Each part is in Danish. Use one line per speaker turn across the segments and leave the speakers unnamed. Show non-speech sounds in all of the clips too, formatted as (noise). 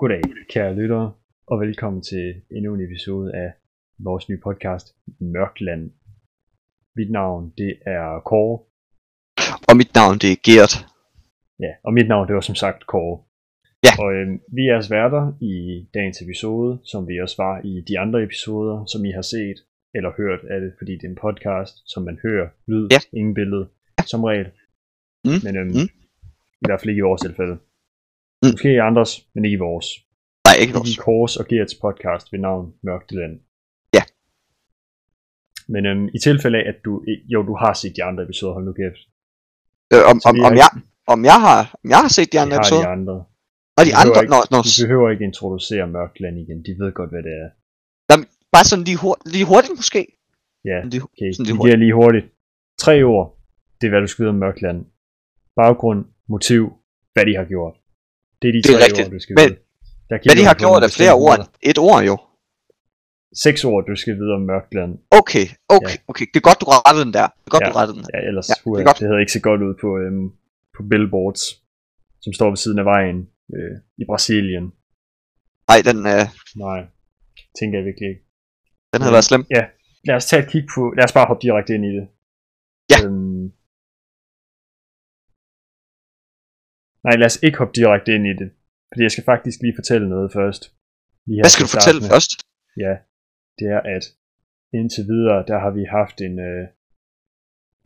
Goddag, kære lyttere, og velkommen til endnu en episode af vores nye podcast, Mørkland. Mit navn, det er Kåre.
Og mit navn det er Gert.
Ja, og mit navn, det var som sagt Kåre.
Ja.
Og øhm, vi er jeres værter i dagens episode, som vi også var i de andre episoder, som I har set eller hørt af det, fordi det er en podcast, som man hører, lyd,
Ja.
ingen billede, som regel.
Mm,
Men øhm,
mm.
i hvert fald ikke i vores tilfælde.
Mm.
Måske i andres, men ikke i vores.
Nej, ikke
Det
vores.
er Kors og Gerts podcast ved navn Mørkdeland.
Ja.
Men øhm, i tilfælde af, at du... Jo, du har set de andre episoder, hold nu kæft.
Øh, om,
Så
om,
vi
om,
har-
jeg, om jeg har, om jeg har set de
Vi
andre
har
episoder?
de andre.
Og de
behøver
andre,
ikke-
nå, nå,
Du behøver ikke introducere Mørkland igen. De ved godt, hvad det er.
bare sådan lige, hurtigt, lige hurtigt måske.
Ja,
Sådan lige-
okay.
sådan
Vi
lige
giver lige hurtigt. Tre ord. Det er, hvad du skal vide om Mørkland. Baggrund, motiv, hvad de har gjort. Det er de
Det er
tre
rigtigt.
ord, du skal
Men-
vide. Der
Hvad de
kigger
har
du på
gjort
nogle
er flere
bestemte
ord end et ord jo.
Seks ord, du skal vide om Mørkland.
Okay, okay, okay. Det er godt, du rettede den der. Det er godt, du rettede den.
Ja, ellers
Ja,
ja,
det er
det,
godt.
det havde ikke set godt ud på, øhm, på billboards, som står ved siden af vejen øh, i Brasilien.
Nej, den, øh,
Nej, tænker jeg virkelig ikke.
den havde
Ja.
været slem.
Lad os tage et kig på, lad os bare hoppe direkte ind i det.
Ja.
Øhm, nej, lad os ikke hoppe direkte ind i det, fordi jeg skal faktisk lige fortælle noget først. Lige her
Hvad skal
til
du fortælle
starten af-
først?
Ja, det er, at indtil videre, der har vi haft en, øh,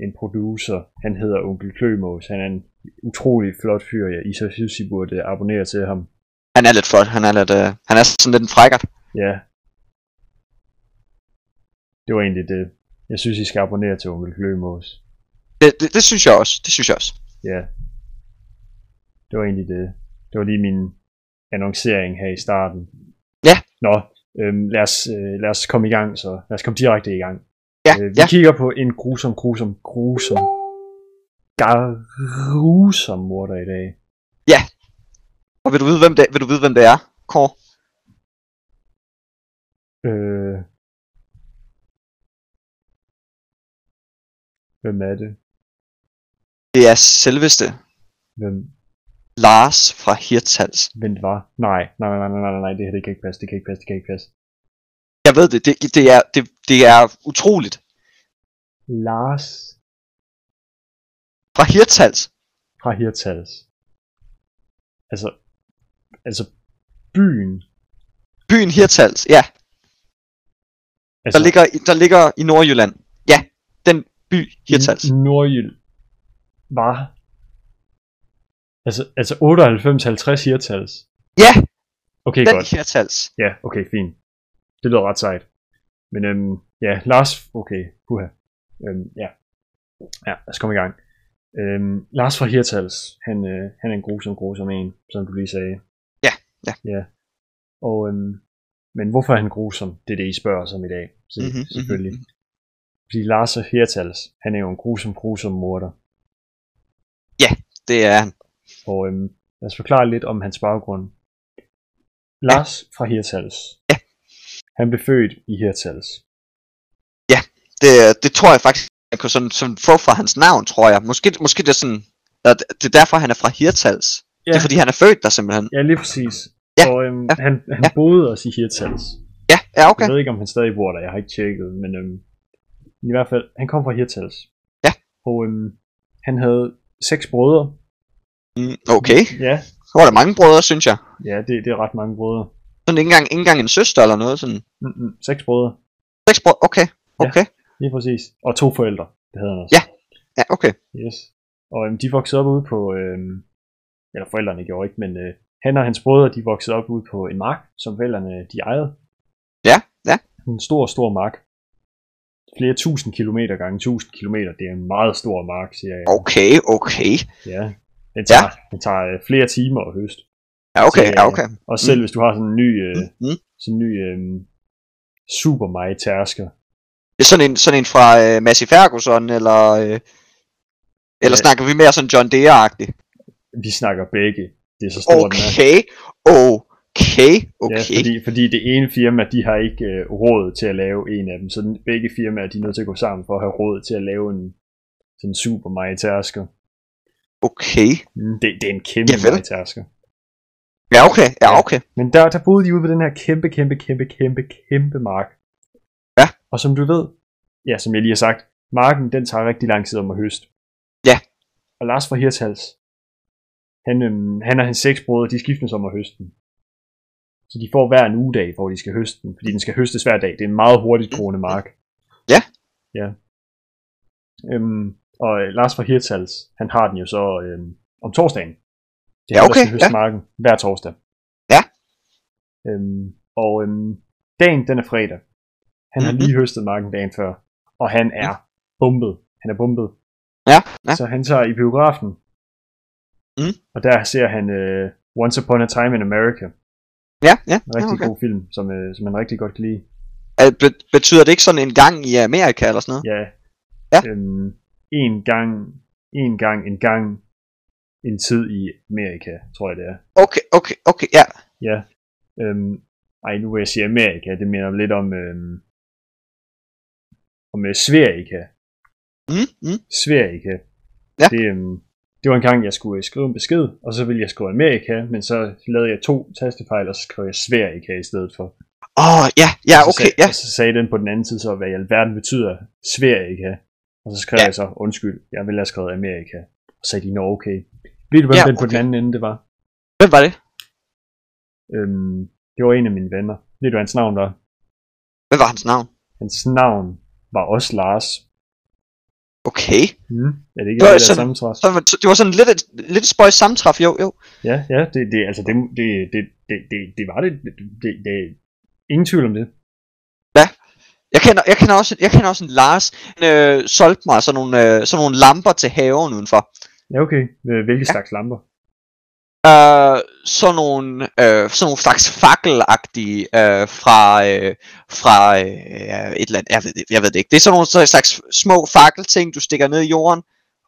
en producer, han hedder Onkel Klømås, han er en utrolig flot fyr, jeg, I så synes, I burde abonnere til ham.
Han er lidt flot. Han er, lidt, øh, han er sådan lidt en frækkert.
Ja, det var egentlig det. Jeg synes, I skal abonnere til Onkel Klømås.
Det, det, det, synes jeg også. Det synes jeg også.
Ja, det var egentlig det. Det var lige min annoncering her i starten.
Ja.
Nå, øhm, lad, os, øh, lad os komme i gang så. Lad os komme direkte i gang.
Ja,
Øh, vi
ja.
kigger på en grusom, grusom, grusom, grusom morder i dag.
Og vil du vide, hvem det, vil du vide, hvem det er, Kåre?
Øh, hvem er det?
Det er selveste
Hvem,
Lars fra Hirtals.
hvem det var? Nej, nej, nej, nej, nej, nej, nej, det her det kan ikke passe, det kan ikke passe, det kan ikke passe.
Jeg ved det. Det, det, er, det, det er utroligt.
Lars
Fra Hirtals.
fra Hirtals. Altså, altså byen.
Byen Hirtals, ja.
Altså,
Der, ligger, i- der ligger i Nordjylland. Ja, den by Hirtals.
N- Nordjyld var... Altså, altså 98-50 Hirtals.
Ja,
Okay,
den
godt.
Hirtals.
Ja, okay, fint. Det lyder ret sejt. Men øhm, ja, Lars... Okay, puha. Øhm, ja. ja, lad os komme i gang. Øhm, Lars fra Hirtals, han, øh, han er en grusom, grusom en, som du lige sagde.
Ja, ja.
ja. Og, øhm, men hvorfor er han grusom? Det er det, I spørger os om i dag. Så,
Mhm,
mm-hmm,
mhm,
selvfølgelig. Mm-hmm. Fordi Lars fra Hirtals, han er jo en grusom, grusom morder.
Det er han.
Og øhm, lad os forklare lidt om hans baggrund. Lars fra Hirtals.
Ja.
Han blev født i Hirtals.
Det, det tror jeg faktisk, jeg kunne sådan, sådan få fra hans navn, tror jeg. Måske, måske det er sådan... at Det er derfor, han er fra Hirtals. Ja. Det er fordi, han er født der simpelthen.
ja lige præcis.
Ja,
Og øhm,
ja,
han, han
ja.
boede også i Hirtals.
Ja, ja okay.
Jeg ved ikke, om han stadig bor der. Jeg har ikke tjekket, men øhm, i hvert fald, han kom fra Hirtals.
Ja.
Og øhm, han havde seks brødre.
Mm, Okay.
Ja,
Så var der mange brødre, synes jeg.
ja det, det er ret mange brødre.
Sådan ikke engang, ikke engang en søster eller noget. Sådan.
Mm-mm, seks brødre,
Seks brødre, okay. Okay.
lige præcis. Og to forældre, det havde han også.
Ja, okay.
Yes. Og øhm, de voksede op ude på, øhm, eller forældrene gjorde ikke, men øh, han og hans brødre, de voksede op ude på en mark, som forældrene de ejede.
Ja, ja.
En stor, stor mark. Flere tusind kilometer gange tusind kilometer, det er en meget stor mark, siger jeg.
Okay, okay.
Ja. Den tager, ja. den tager øh, flere timer at høste.
Ja, okay,
Så, øh,
ja, okay.
Og selv mm. hvis du har sådan en ny, øh,
Mm, mm.
sådan en ny øh, super meget tærsker.
Det er sådan en, sådan en fra øh, Massey Ferguson, eller... Øh, eller
Ja.
ja. snakker vi mere sådan John Deere-agtig?
Vi snakker begge. Det er så stor den er.
Okay, okay,
Ja,
okay.
fordi, fordi det ene firma, de har ikke øh, råd til at lave en af dem, så den, begge firmaer, de er nødt til at gå sammen for at have råd til at lave en sådan super majtærsker.
Okay,
Mm, det, det er en kæmpe
Javel.
majtærsker.
Ja, okay. Ja, okay.
Men der, der boede de ude ved den her kæmpe, kæmpe, kæmpe, kæmpe, kæmpe mark.
Ja.
Og som du ved, ja, som jeg lige har sagt, marken, den tager rigtig lang tid om at høste.
Ja.
Og Lars fra Hirtals, han, øhm, han og hans seks brødre, de skiftes om at høste den. Så de får hver en ugedag, hvor de skal høste den, fordi den skal høstes hver dag. Det er en meget hurtigt groende mark.
Ja.
Ja. Øhm, og øh, Lars fra Hirtals, han har den jo så øhm, om torsdagen. Det er
Ja,
ham, der
okay,
skal høste marken hver torsdag.
Ja.
Øhm, og øhm, dagen, den er fredag. Han har
Mhm.
lige høstet marken dagen før, og han er bumpet. Han er bumpet.
Ja, ja.
Så han tager i biografen,
Mm.
og der ser han øh, Once Upon a Time in America.
Ja, ja.
En
ja
rigtig
okay.
god film, som, øh, som man rigtig godt kan lide.
Øh, be- betyder det ikke sådan en gang i Amerika eller sådan noget?
Ja.
Ja.
Øhm, en gang, en gang, en gang, en tid i Amerika, tror jeg det er.
Okay, okay, okay, ja.
Ja. Øhm, ej, nu vil jeg sige Amerika, det minder lidt om, øhm, om øh, Sverige.
Mm, mm.
Sverige.
Ja.
Det, øhm, det var en gang, jeg skulle øh, skrive en besked, og så ville jeg skrive Amerika, men så lavede jeg to tastefejl, og så skrev jeg Sverige i stedet for.
Åh, oh, ja, ja,
Og så
okay,
sagde,
ja.
Og så sagde den på den anden side så, hvad i alverden betyder Sverige. Og så skrev
Ja.
ja. jeg så, undskyld, jeg ville have skrevet Amerika. Og så sagde de, nå okay. Ved du, hvem
Ja,
ja, den på
okay.
den anden ende det var?
Hvem var det?
Øhm, det var en af mine venner. Ved du, hvad hans navn var?
Hvad var hans navn?
Hans navn var også Lars.
Okay.
Hmm. Er det ikke
Det var
det, der
Mm. sådan-
samme træs?
Så var- det var sådan lidt et, lidt et spøjs sammentræf, jo, jo.
Ja, ja, det, det, altså, det, det, det, det, det, det var det. Det, det, det. Ingen tvivl om det.
Jeg kender, jeg kender, også, jeg kender også en Lars, han øh, solgte mig sådan nogle, øh, sådan nogle lamper til haven udenfor.
Ja, okay. Øh, Hvilke ja. slags lamper?
Øh, sådan, nogle, øh, sådan nogle slags fakkelagtige øh, fra, øh, fra øh, et eller andet, jeg ved, det- jeg ved det ikke. Det er sådan nogle sådan slags små fakkelting, du stikker ned i jorden,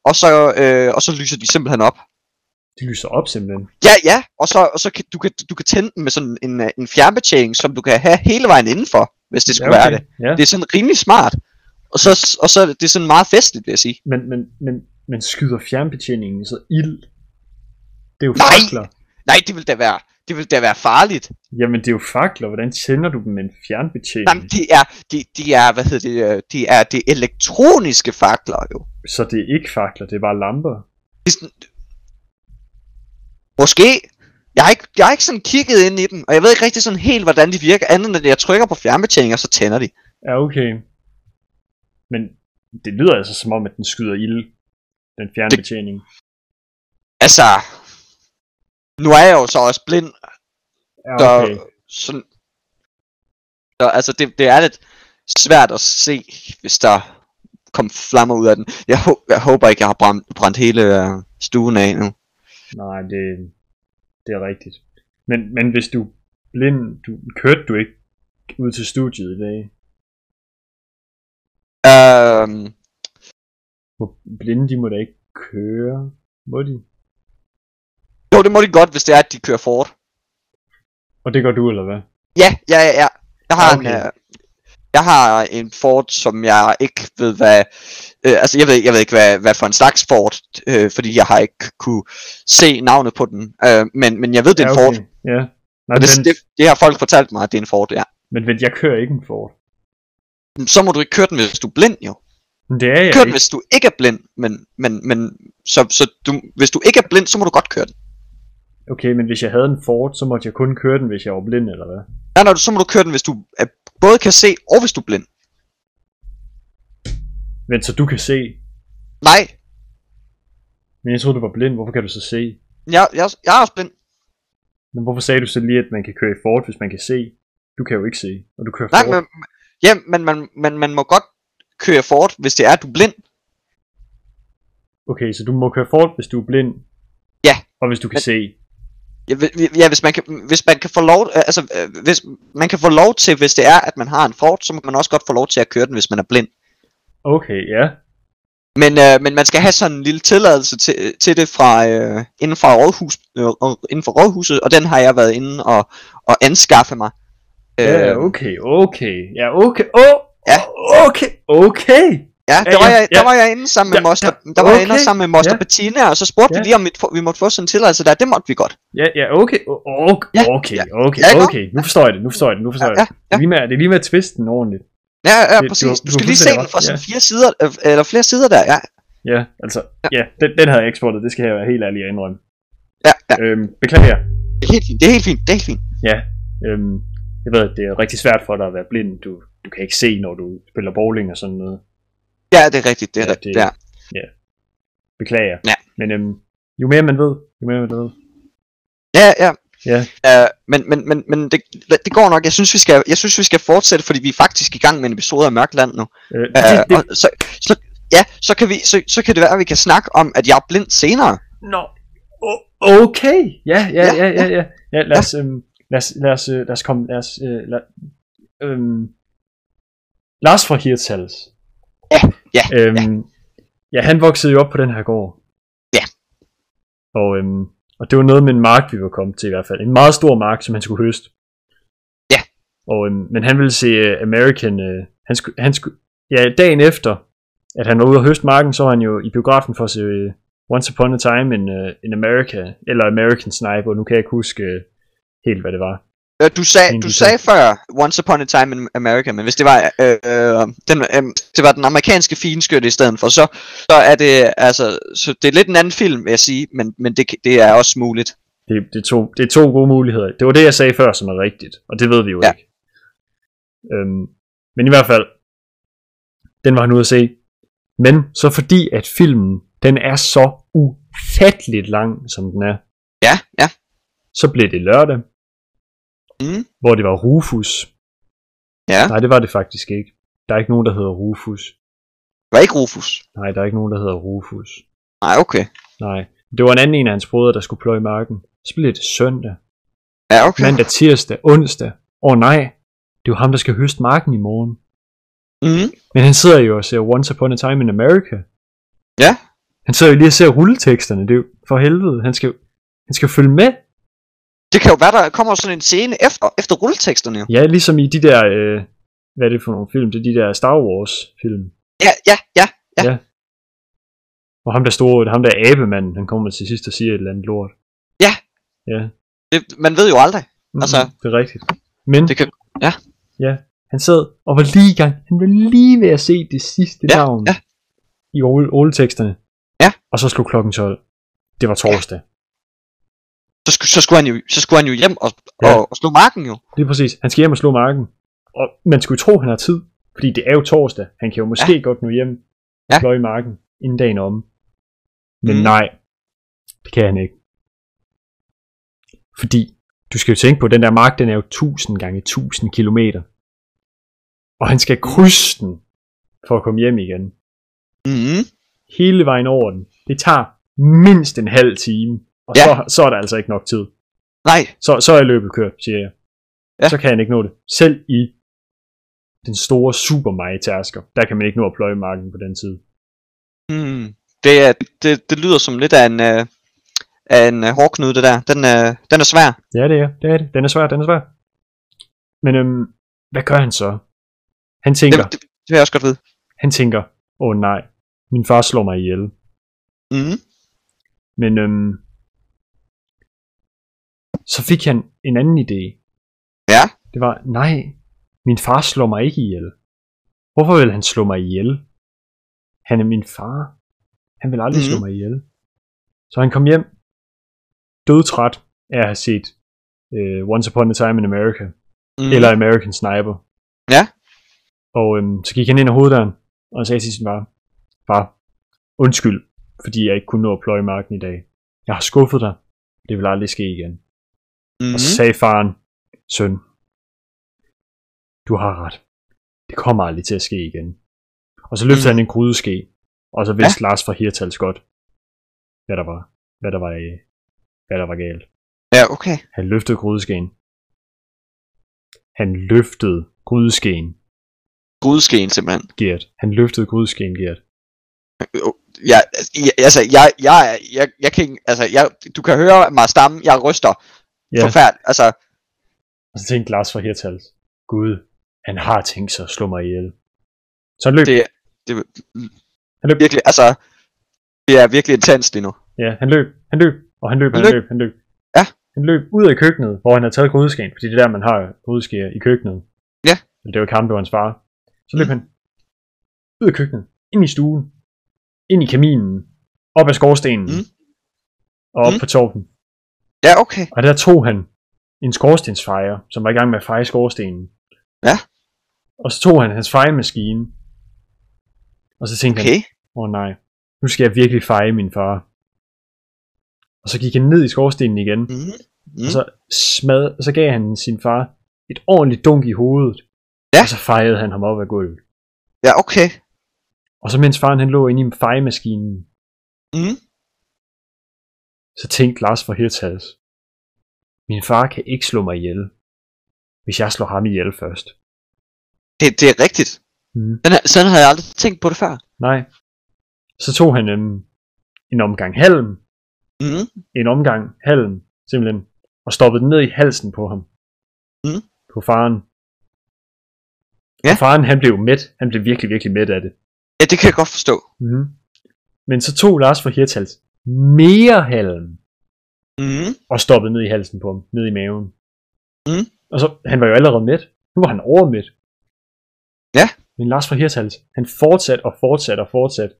og så, øh, og så lyser de simpelthen op.
De lyser op simpelthen.
Ja, ja, og så, og så kan, du, kan, du kan tænde den med sådan en, øh, en fjernbetjening, som du kan have hele vejen indenfor, hvis det skulle
ja,
ja,
okay.
være det.
Ja.
Det er sådan rimelig smart. Og så, og så er det sådan meget festligt, vil jeg sige.
Men, men, men, men skyder fjernbetjeningen så ild? Det er jo
Nej!
fakler.
Nej, det vil da være, det vil da være farligt.
Jamen, det er jo fakler. Hvordan tænder du dem med en
Nej,
fjernbetjening?
men det er, det, det er, hvad hedder det, øh, det er det elektroniske fakler jo.
Så det er ikke fakler, det er bare lamper.
Det er sådan, måske, jeg har, ikke, jeg har ikke sådan kigget ind i dem, og jeg ved ikke rigtig sådan helt, hvordan de virker, andet end at jeg trykker på fjernbetjeningen, og så tænder de.
Ja, okay. Men det lyder altså som om, at den skyder ild, den fjernbetjening.
Altså, nu er jeg jo så også blind,
Ja,
så,
okay.
sådan, så altså det, det er lidt svært at se, hvis der kom flammer ud af den. Jeg, hå- jeg håber ikke, jeg har brændt, brændt hele øh, stuen af nu.
Nej, det, det er rigtigt. Men, men hvis du er blind, du, kørte du ikke ud til studiet i dag?
Øhm,
Hvor blinde, de må da ikke køre. Må de?
jo, det må de godt, hvis det er, at de kører Ford.
Og det gør du, eller hvad?
Ja, ja, ja, ja. Jeg har, okay. en,
Okay.
øh, jeg har en Ford, som jeg ikke ved, hvad... Øh, altså, jeg ved, jeg ved ikke, hvad, hvad for en slags Ford, øh, fordi jeg har ikke kunne se navnet på den. Øh, men, men jeg ved, det er en
ja,
Ford.
okay. Ja. Nej,
Og
men,
det, det, det har folk fortalt mig, at det er en Ford, ja.
men vent, jeg kører ikke en Ford.
så må du ikke køre den, hvis du er blind, jo.
Men det er jeg
Kør den,
ikke.
hvis du ikke er blind, men, men, men så, så du, hvis du ikke er blind, så må du godt køre den.
Okay, men hvis jeg havde en Ford, så måtte jeg kun køre den, hvis jeg var blind, eller hvad?
Nej, nej, så må du køre den, hvis du er, både kan se, og hvis du er blind.
Men så du kan se.
Nej,
Men jeg troede, du var blind. Hvorfor kan du så se?
jeg, jeg, jeg er også blind.
Men hvorfor sagde du så lige, at man kan køre i Ford, hvis man kan se? Du kan jo ikke se, og du kører
Nej,
Ford.
men, ja, men man, man, man må godt køre Ford, hvis det er, at du er blind.
Okay, så du må køre Ford, hvis du er blind.
Ja.
Og hvis du kan se.
Ja, hvi- ja, hvis man kan, hvis man kan få lov, altså, øh, hvis man kan få lov til, hvis det er, at man har en Ford, så må man også godt få lov til at køre den, hvis man er blind.
Okay, ja.
Men, øh, men man skal have sådan en lille tilladelse til, til det fra, øh, inden, fra rådhus, øh, og- inden for rådhuset, og den har jeg været inde og, og anskaffe mig. Øh,
Ja, okay, okay. Ja, okay. Åh,
Øhm. Ja.
okay, okay.
Ja, der,
Ja,
var,
ja,
jeg, der
ja.
var jeg inde sammen med
Ja,
Moster,
ja.
der var jeg inde og
Okay.
sammen med Moster
Ja.
Bettina, og så spurgte
Ja.
vi lige, om vi, vi måtte få sådan en tilladelse der. Det måtte vi godt.
Ja, ja, okay, o- okay,
Ja,
okay,
ja.
okay,
Ja, ikke
okay, nu forstår jeg det, nu forstår jeg det, nu forstår jeg
Ja,
det. Det er lige med, det er lige med at tviste den ordentligt.
Ja, ja,
Det-
præcis.
du-
Du
du
skal
har
lige se
fuldstændig
den
ret,
fra sådan
ja.
fire sider, øh, eller flere sider der, ja.
Ja, altså, ja, den, den havde jeg ikke spurgt, det skal jeg være helt ærlig at indrømme.
Ja, ja.
Øhm, beklager,
Det er helt fint, det er helt fint, det er helt fint.
øhm, jeg ved, det er rigtig svært for dig at være blind, du, du kan ikke se, når du spiller bowling og sådan noget.
Ja, det er rigtigt, det er
Ja,
rigtigt,
det-
ja.
Beklager.
Ja.
Men øhm, jo mere man ved, jo mere man ved.
Ja, ja.
Ja.
Uh, men men, men, men det, det, går nok. Jeg synes, vi skal, jeg synes, vi skal fortsætte, fordi vi er faktisk i gang med en episode af Mørkland nu.
Øh,
Uh,
det, det,
Og så, så, ja, så kan, vi, så, så kan det være, at vi kan snakke om, at jeg er blind senere.
Nå, o- okay. Ja, ja, ja, ja, ja. ja lad, os, øhm, lad, os, lad, os, øh, lad os komme, lad os, øh, lad, øhm, Lars fra Hirtshals.
Ja, ja,
øhm, ja. Ja, han voksede jo op på den her gård.
Ja.
Og, øhm, og det var noget med en mark, vi var kommet til i hvert fald. En meget stor mark, som han skulle høste.
Ja.
Og, øhm, men han ville se uh, American... Uh, han skulle, han skulle, ja, dagen efter, at han var ude og høste marken, så var han jo i biografen for at se øh, Once Upon a Time in, uh, in America, eller American Sniper, nu kan jeg ikke huske øh, helt, hvad det var.
Øh, Du sagde,
Fint,
du
du
sagde før Once Upon a Time in America, men hvis det var, øh, øh, den, øh, det var den amerikanske finskytte i stedet for, så, så er det altså, så det er lidt en anden film, vil jeg sige, men, men det, kan- det er også muligt.
Det, det, er to, det er to gode muligheder. Det var det, jeg sagde før, som er rigtigt, og det ved vi jo
Ja.
ja. ikke. Øhm, men i hvert fald, den var han ude at se. Men så fordi, at filmen, den er så ufatteligt lang, som den er,
Ja, ja.
så blev det lørdag,
Mm.
hvor det var Rufus.
Ja.
Nej, det var det faktisk ikke. Der er ikke nogen, der hedder Rufus.
Var ikke Rufus?
Nej, der er ikke nogen, der hedder Rufus.
Nej, okay.
Nej. Det var en anden en af hans brødre, der skulle pløje marken. Så blev det søndag,
Ja, okay.
mandag, tirsdag, onsdag. Åh oh, nej, det er jo ham, der skal høste marken i morgen.
Mm.
Men han sidder jo og ser Once Upon a Time in America.
Ja.
Han sidder jo lige og ser rulleteksterne, det er jo for helvede. Han skal, jo- han skal jo følge med.
Det kan jo være, der kommer sådan en scene efter, efter rulleteksterne jo.
Ja, ligesom i de der, øh, hvad er det for nogle film? Det er de der Star Wars film.
Ja, ja, ja.
Og ham der store, ham der abemanden, han kommer til sidst og siger et eller andet lort.
Det, man ved jo aldrig.
Mm,
Altså-
det er rigtigt. Men
Det kan,
Han sad og var lige i gang. Han var lige ved at se det sidste
Ja,
ja, navn
ja.
ja. i ole- oleteksterne.
Ja.
Og så slog klokken 12. Det var torsdag.
så, skulle, så, skulle han jo, så skulle han jo hjem og,
Ja.
og, og slå marken jo.
Lige præcis. Han skal hjem og slå marken. Og man skulle tro, han har tid. Fordi det er jo torsdag. Han kan jo måske ja. godt nå hjem og
Ja.
ja. pløje marken inden dagen er omme. Men
Mm.
mm. nej, det kan han ikke. Fordi du skal jo tænke på, at den der mark, den er jo 1000 gange 1000 kilometer. Og han skal krydse den for at komme hjem igen.
Mm.
hele vejen over den. Det tager mindst en halv time, og
Ja.
ja. så, så er der altså ikke nok tid.
Nej,
Så, så er løbet kørt, siger jeg.
Ja.
Ja. Så kan han ikke nå det. Selv i den store super tærsker der kan man ikke nå at pløje marken på den tid.
Mm. Det, er, det, det lyder som lidt af en, øh, af en øh, hårdknude, det der. Den, øh, den er svær.
Ja, det er det. Er det. Den er svær, den er svær. Men øhm, hvad gør han så? Han
Det,
tænker,
det, det vil jeg også godt vide.
han tænker, åh oh, nej, min far slår mig ihjel.
Mm.
Men øhm, så fik han en anden idé.
Ja.
Det var, nej, min far slår mig ikke ihjel. Hvorfor vil han slå mig ihjel? Han er min far. Han vil aldrig mm. slå
Mhm.
mig ihjel. Så han kom hjem, dødtræt af at have set uh, Once Upon a Time in America, mm.
Mm.
eller American Sniper.
Ja.
Og øhm, så gik han ind ad hoveddøren, og sagde til sin far, far, undskyld, fordi jeg ikke kunne nå at pløje marken i dag. Jeg har skuffet dig. Det vil aldrig ske igen.
mm.
Og så sagde faren, søn, du har ret. Det kommer aldrig til at ske igen. Og så løftede
Mm.
han en grydeske, og så vidste ja. Lars fra Hirtals godt, hvad der var, hvad der var, i- hvad der var galt.
Ja, okay.
Han løftede grydeskeen. Han løftede grydeskeen,
Gudskeen simpelthen.
Gert. Han løftede grydeskeen, Gert.
Ja, ja, altså, jeg, jeg, jeg, jeg kan ikke, altså, jeg, du kan høre mig stamme, jeg ryster
Ja.
forfærdeligt, altså,
Og så tænkte Lars fra Hirtals, Gud, han har tænkt sig at slå mig ihjel. Så han løb
det, det er
Han løb,
virkelig, altså, det er virkelig intenst lige nu.
ja, han løb, han løb, og han løb, han,
Han
han løb.
løb.
løb, han løb.
Ja.
Han løb ud af køkkenet, hvor han havde taget grydeskeen, fordi det er der, man har grydeskære i køkkenet.
Ja.
Eller det var kamp, det var hans far. Så løb
Mhm.
han ud af køkkenet, ind i stuen, ind i kaminen, op ad skorstenen,
Mhm.
og op
Mhm.
på torven.
Ja, okay.
Og der tog han en skorstensfejer, som var i gang med at feje skorstenen.
Ja.
Og så tog han hans fejemaskine. Og så tænkte han,
Okay.
åh oh, nej, nu skal jeg virkelig feje min far. Og så gik han ned i skorstenen igen, mm.
Mm.
og så smad, og så gav han sin far et ordentligt dunk i hovedet.
Ja.
Og så fejede han ham op af gulvet.
Ja, okay.
Og så mens faren han lå inde i fejemaskinen,
Mm.
så tænkte Lars for Hirtals, min far kan ikke slå mig ihjel, hvis jeg slår ham ihjel først.
Det, det er rigtigt.
Mm.
Den her, sådan havde jeg aldrig tænkt på det før.
Nej. Så tog han øhm, en omgang halm,
Mm.
en omgang halm, simpelthen, og stoppede den ned i halsen på ham.
Mhm.
På faren.
Ja.
Og faren, han blev mæt. Han blev virkelig, virkelig mæt af det.
Ja, det kan jeg godt forstå.
Mm. Men så tog Lars fra Hirtals mere halm
Mm.
og stoppede ned i halsen på ham, ned i maven.
Mhm.
Og så, han var jo allerede mæt. Nu var han overmæt.
Ja.
Men Lars fra Hirtals, han fortsatte og fortsatte og fortsatte.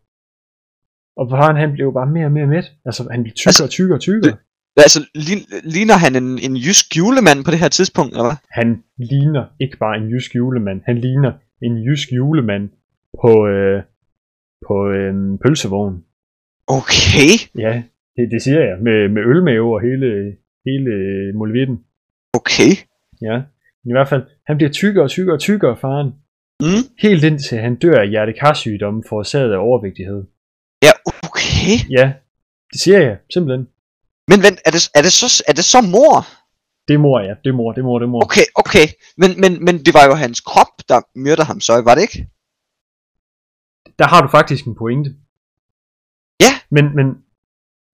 Og faren, han blev jo bare mere og mere mæt. Altså, han blev tykkere
Altså,
og tykkere og tykkere.
Altså, lign- ligner han en, en jysk julemand på det her tidspunkt, eller hvad?
Han ligner ikke bare en jysk julemand. Han ligner en jysk julemand på, øh, på øh, pølsevogn.
Okay.
Ja, det, det siger jeg. Med, med ølmave og hele, hele øh, molevitten.
Okay.
Ja. Men I hvert fald, han bliver tykkere og tykkere og tykkere, faren.
Mm.
Helt indtil han dør af hjertekarsygdomme forårsaget af overvægtighed.
Ja, okay.
Ja, det siger jeg, simpelthen.
Men vent, er det, er det, så, er det så mor?
Det er mor, ja. Det er mor, det er mor, det er mor.
Okay, okay. Men, men, men det var jo hans krop, der myrder ham så, var det ikke?
Der har du faktisk en pointe.
Ja.
Men, men,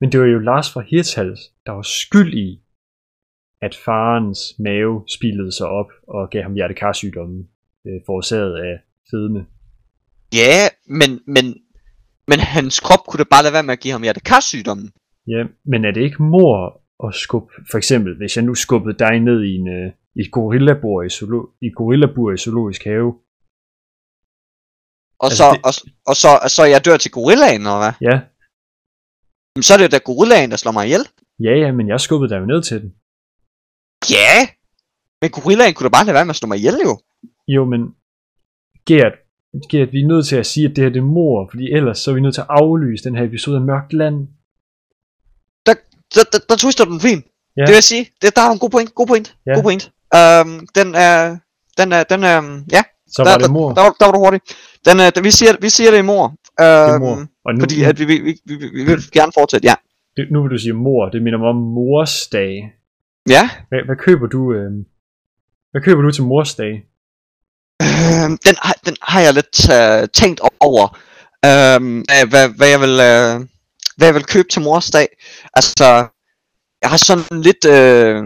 men det var jo Lars fra Hirtals, der var skyld i, at farens mave spillede sig op og gav ham hjertekarsygdomme, øh, forårsaget af fedme.
Ja, men, men, men hans krop kunne da bare lade være med at give ham hjertekarsygdommen.
Ja, men er det ikke mor at skubbe, for eksempel, hvis jeg nu skubbede dig ned i, en, øh, i et gorillabur i, zoolo- i, et gorillabur i zoologisk have,
Og,
Altså,
altså, så,
det-
det... og, og, så, og så jeg dør til gorillaen, eller hvad?
ja,
Jamen, så er det jo da gorillaen, der slår mig ihjel.
ja, ja, men jeg skubbede dig jo ned til den.
Ja! Men gorillaen kunne da bare lade være med at slå mig ihjel, jo.
Jo, men Gert, Gert, vi er nødt til at sige, at det her det er mor, fordi ellers så er vi nødt til at aflyse den her episode af Mørkt Land.
Der, der, der twister den fint.
Ja.
Ja. Det vil jeg sige, det, der er en god point, god point,
Ja.
ja. god point. Øhm, den er, den er, den er, øhm, ja,
Så
der,
var det
der,
mor.
der, var, der var du hurtig. Den, er, den, vi, siger, vi siger det i mor. Øhm,
Det er mor. Og nu,
Fordi at vi, vi, vi, vi, vi vil gerne fortsætte, ja.
det, nu vil du sige mor, det minder mig om mors dag.
Ja,
Hvad, hvad køber du... Øh, hvad køber du til mors dag?
øhm, den, har- den har jeg lidt øh, tænkt over, øhm, øh, hvad, hvad, jeg vil, øh, hvad jeg vil købe til mors dag. Altså, jeg har sådan lidt, øh,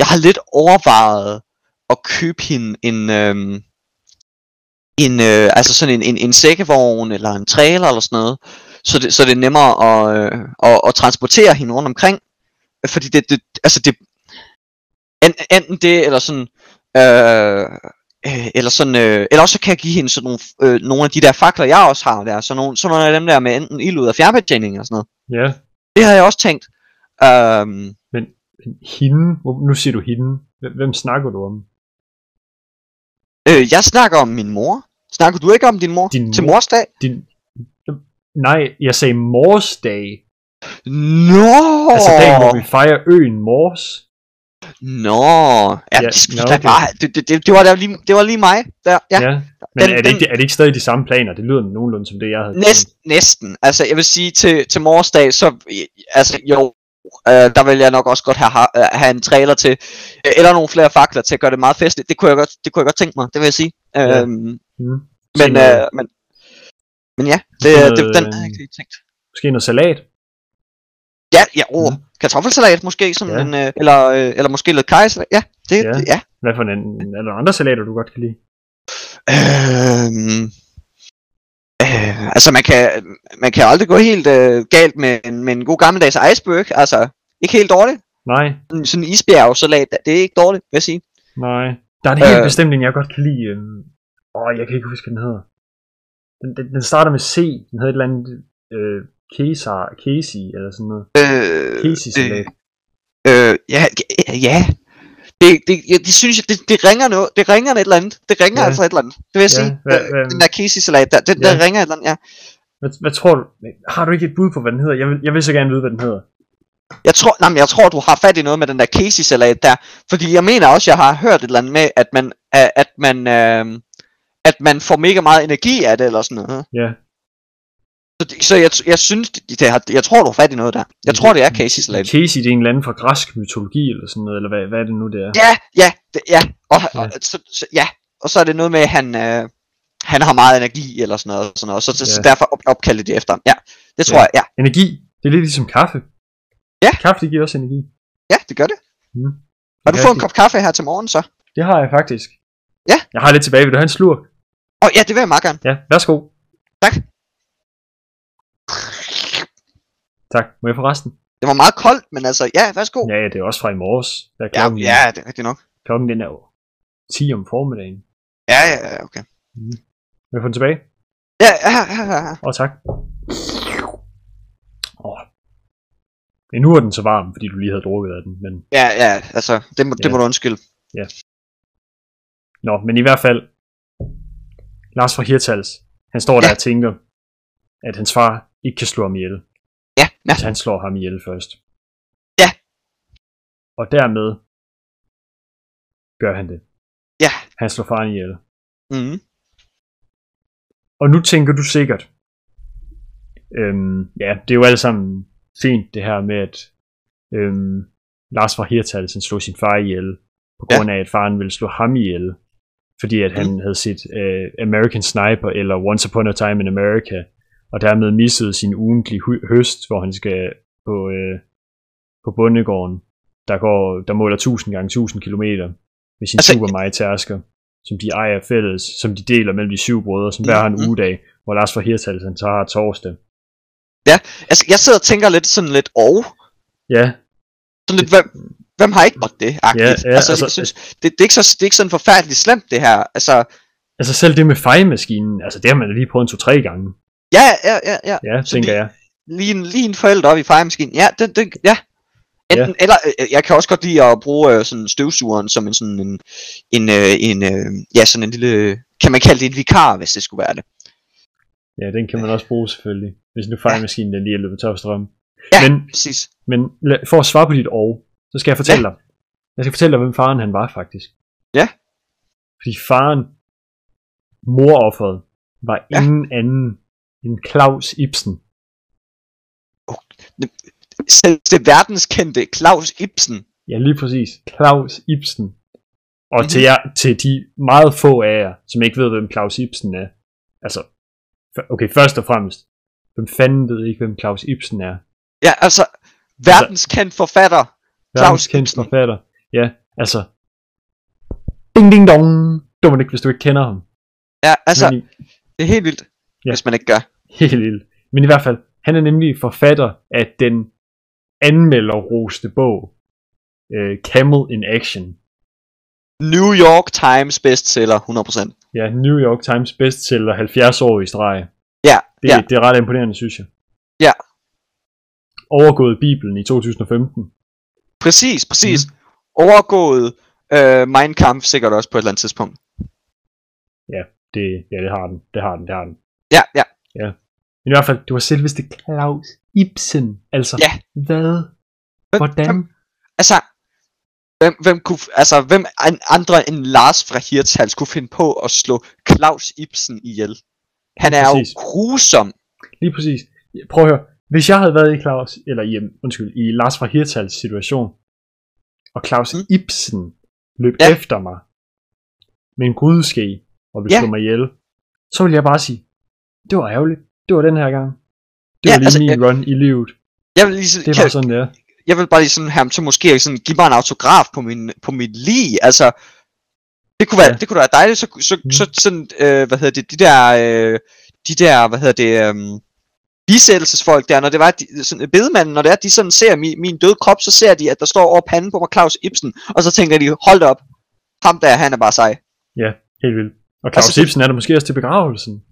jeg har lidt overvejet at købe hende en, øh, en øh, altså sådan en, en, en sækkevogn eller en trailer eller sådan noget, så det, så det er nemmere at, øh, at, at transportere hende rundt omkring, fordi det, det altså det, en- enten det eller sådan, øh, øh, eller sådan, øh, eller også så kan jeg give hende sådan nogle, øh, nogle af de der fakler, jeg også har der, sådan nogle, sådan nogle af dem der med enten ild ud af fjernbetjening eller sådan noget.
Ja,
Det havde jeg også tænkt. Øhm,
hende. Hvor- Nu siger du hende. Hvem, hvem snakker du om?
øh, jeg snakker om min mor. Snakker du ikke om din mor
Din
til
mor?
mors dag?
Din... Nej, jeg sagde mors dag.
Nå!
Altså dagen, hvor vi fejrer øen Mors.
Nå! Ja,
Ja,
det, skulle
nå,
da
det-
bare, det, det, det, det, var der lige, det var lige mig. Der, ja.
Men
Den-
er, det ikke,
den-
er det ikke stadig de samme planer? Det lyder nogenlunde som det, jeg havde.
Næsten, næsten. Altså, jeg vil sige, til, til morsdag, så, øh, altså, jo, øh, der vil jeg nok også godt have, ha- øh, have en trailer til, øh, eller nogle flere fakler til at gøre det meget festligt. Det kunne jeg godt, det kunne jeg godt tænke mig, det vil jeg sige.
Ja.
Øhm,
Mm.
men,
Tænker jeg.
øh, men, men ja, det,
Sådan
det,
noget,
den havde jeg
øhm,
ikke lige tænkt.
Måske noget salat?
Ja, ja, oh, mm. kartoffelsalat måske, sådan
Ja.
ja. en, øh, eller, øh, eller måske lidt kajsalat. Ja, det,
Ja.
ja. Det, ja.
Hvad for en, er der andre salater, du godt kan lide?
Øhm, Øh, altså man kan, man kan aldrig gå helt øh, galt med, en- med en god gammeldags iceberg, altså ikke helt dårligt.
Nej,
Mm, Sådan en isbjergsalat, det er ikke dårligt, vil jeg sige.
nej. Der er en helt
Øh.
bestemt en, jeg godt kan lide. Øhm, åh, jeg kan ikke huske, hvad den hedder. Den, den, den starter med C. Den hedder et eller andet... Øh, Kesar, Casey, eller sådan noget.
Øh,
Casey salat.
det, øh, ja, ja, ja. Det, det, ja, det synes jeg, det, det ringer noget. Det ringer et eller andet. Det ringer
Ja.
ja. altså et eller andet. Det vil jeg
Ja,
ja, sige.
hvad-
Øh,
hvad-
den der Casey-salat, der, den,
Ja.
ja. der ringer et eller andet, ja.
Hvad, hvad tror du? Har du ikke et bud på, hvad den hedder? Jeg vil, jeg vil så gerne vide, hvad den hedder.
Jeg tror, nej, men jeg tror, du har fat i noget med den der Casey-salat der. Fordi jeg mener også, jeg har hørt et eller andet med, at man, at at man, øh, at man får mega meget energi af det, eller sådan noget.
Ja.
Så, det- så jeg, jeg synes, det, det har, jeg tror, du har fat i noget der. Jeg tror, det er Casey-salat.
Casey, det er en eller anden fra græsk mytologi, eller sådan noget, eller hvad, hvad er det nu, det er?
Ja, ja, det, ja. Og, og, så, så, ja. og så er det noget med, at han, øh, han har meget energi, eller sådan noget. og Sådan noget. Så, så, så
Ja.
derfor op, opkaldte de efter ham. Ja, det tror
Ja.
ja. jeg, ja.
Energi, det er lidt ligesom kaffe.
Ja.
Kaffe, det giver også energi.
Ja, det gør det.
Mm.
Har du
Ja,
fået en
det-
kop kaffe her til morgen, så?
Det har jeg faktisk.
Ja.
Jeg har lidt tilbage, vil du have en slurk?
Åh, oh, ja, det vil jeg meget gerne.
Ja, værsgo.
Tak.
Tak, må jeg få resten?
Det var meget koldt, men altså, ja, værsgo.
Ja, det er også fra i morges. Der er
Ja,
klokken,
ja, det er rigtigt nok.
klokken den er jo 10 om formiddagen.
Ja, ja, ja, okay.
Må jeg få den tilbage?
Ja, ja, ja, ja, ja.
Og tak. Oh. Nu er den så varm, fordi du lige havde drukket af den. Men,
ja, ja altså, det må, det
Ja.
må du undskylde.
nå, men i hvert fald, Lars fra Hirtals, han står der
Ja.
og tænker, at hans far ikke kan slå ham ihjel,
Ja, ja,
hvis han slår ham ihjel først.
Ja.
Og dermed gør han det.
ja.
Han slår faren ihjel.
Mm.
Og nu tænker du sikkert, øhm, ja, det er jo alt sammen fint det her med, at øhm, Lars fra Hirtals han slog sin far ihjel, på
Ja.
grund af, at faren ville slå ham ihjel, fordi at han havde set øh, American Sniper eller Once Upon a Time in America, og dermed missede sin ugentlige hu- høst, hvor han skal på, øh, på bondegården, der, går, der måler 1000 gange 1000 km med sin altså,
Altså-
super meget tærsker som de ejer fælles, som de deler mellem de syv brødre, som hver har en
Mhm.
ugedag, hvor Lars fra Hirtals han så har torsdag.
Altså, jeg sidder og tænker lidt sådan lidt over.
Ja,
Sådan lidt, hvem, hvem har ikke måttet det, agtigt?
Ja, ja,
altså,
altså-
jeg synes, det, det, er ikke så, det er ikke sådan forfærdeligt slemt, det her. Altså,
altså selv det med fejemaskinen, altså det har man da lige prøvet en to-tre gange.
ja, ja, ja, ja.
Ja,
Så
tænker
det-
jeg.
Lige en, lige en forælder op i fejemaskinen. Ja, det, det, ja. Enten, ja. Eller, øh, jeg kan også godt lide at bruge øh, sådan støvsugeren som en sådan en, en, øh, en, øh, ja, sådan en lille, kan man kalde det en vikar, hvis det skulle være det.
Ja, den kan man også bruge selvfølgelig, hvis nu fejemaskinen den lige er løbet tør for strøm.
Ja.
Men,
Præcis.
men la- for at svare på dit og, så skal jeg fortælle dig. Jeg skal fortælle dig, hvem faren han var faktisk.
Ja.
Fordi faren, morofferet, var
Ja.
ingen anden end Claus Ibsen.
Selv det verdenskendte Claus Ibsen.
Ja, lige præcis. Claus Ibsen. Og
Mhm.
til, jer, til de meget få af jer, som ikke ved, hvem Claus Ibsen er. Altså, f- okay, først og fremmest. Hvem fanden ved ikke, hvem Claus Ibsen er?
Ja, altså, verdenskendt forfatter. Claus
Verdenskendt
Ibsen.
forfatter. Ja, altså. Ding, ding, dong. Dumt ikke, hvis du ikke kender ham.
Ja, altså,
Men i,
det er helt vildt,
Ja.
ja. hvis man ikke gør.
helt lille. Men i hvert fald, han er nemlig forfatter af den anmelderroste bog, øh, Camel in Action,
New York Times bestseller, 100%.
Ja, New York Times bestseller 70 år i streg.
Ja,
Det,
ja.
det er ret imponerende, synes jeg.
Ja.
Overgået Bibelen i 2015.
Præcis, præcis.
Mhm.
Mm. Overgået øh, Mein Kampf sikkert også på et eller andet tidspunkt.
Det, ja, det har den. Det har den, det har den.
Ja, ja.
Men i hvert fald, det var selveste Claus Ibsen. Altså,
Ja.
hvad?
Hvem-
Hvordan?
hvem- Altså, hvem, hvem, kunne, f- altså, hvem an- andre end Lars fra Hirtals kunne finde på at slå Claus Ibsen ihjel? Han er
Præcis.
jo grusom.
Lige præcis. Prøv at høre. Hvis jeg havde været i Claus, eller i, øhm, undskyld, i Lars fra Hirtals situation, og Claus
Mm.
Ibsen løb
Ja.
ja. efter mig med en grydeske og ville
Ja.
ja. slå mig ihjel, så ville jeg bare sige, det var ærgerligt. Det var den her gang. Det
Ja,
var ja, lige
altså,
altså, min
jeg-
run i livet.
Jeg vil lige,
Det
kan,
var sådan, det er.
jeg vil bare lige sådan have ham til måske at sådan, give mig en autograf på min, på mit lig, altså, det kunne være,
Ja.
ja. det kunne da være dejligt, så, så,
Mm.
mm. så sådan, øh, hvad hedder det, de der, øh, de der, hvad hedder det, øhm, bisættelsesfolk der, når det var de, sådan, bedemanden, når det er, de sådan ser min, min døde krop, så ser de, at der står over panden på mig Claus Ibsen, og så tænker de, hold da op, ham der, han er bare sej.
Ja, helt vildt. Og Claus
Altså,
altså,
det-
Ibsen er der måske også til begravelsen.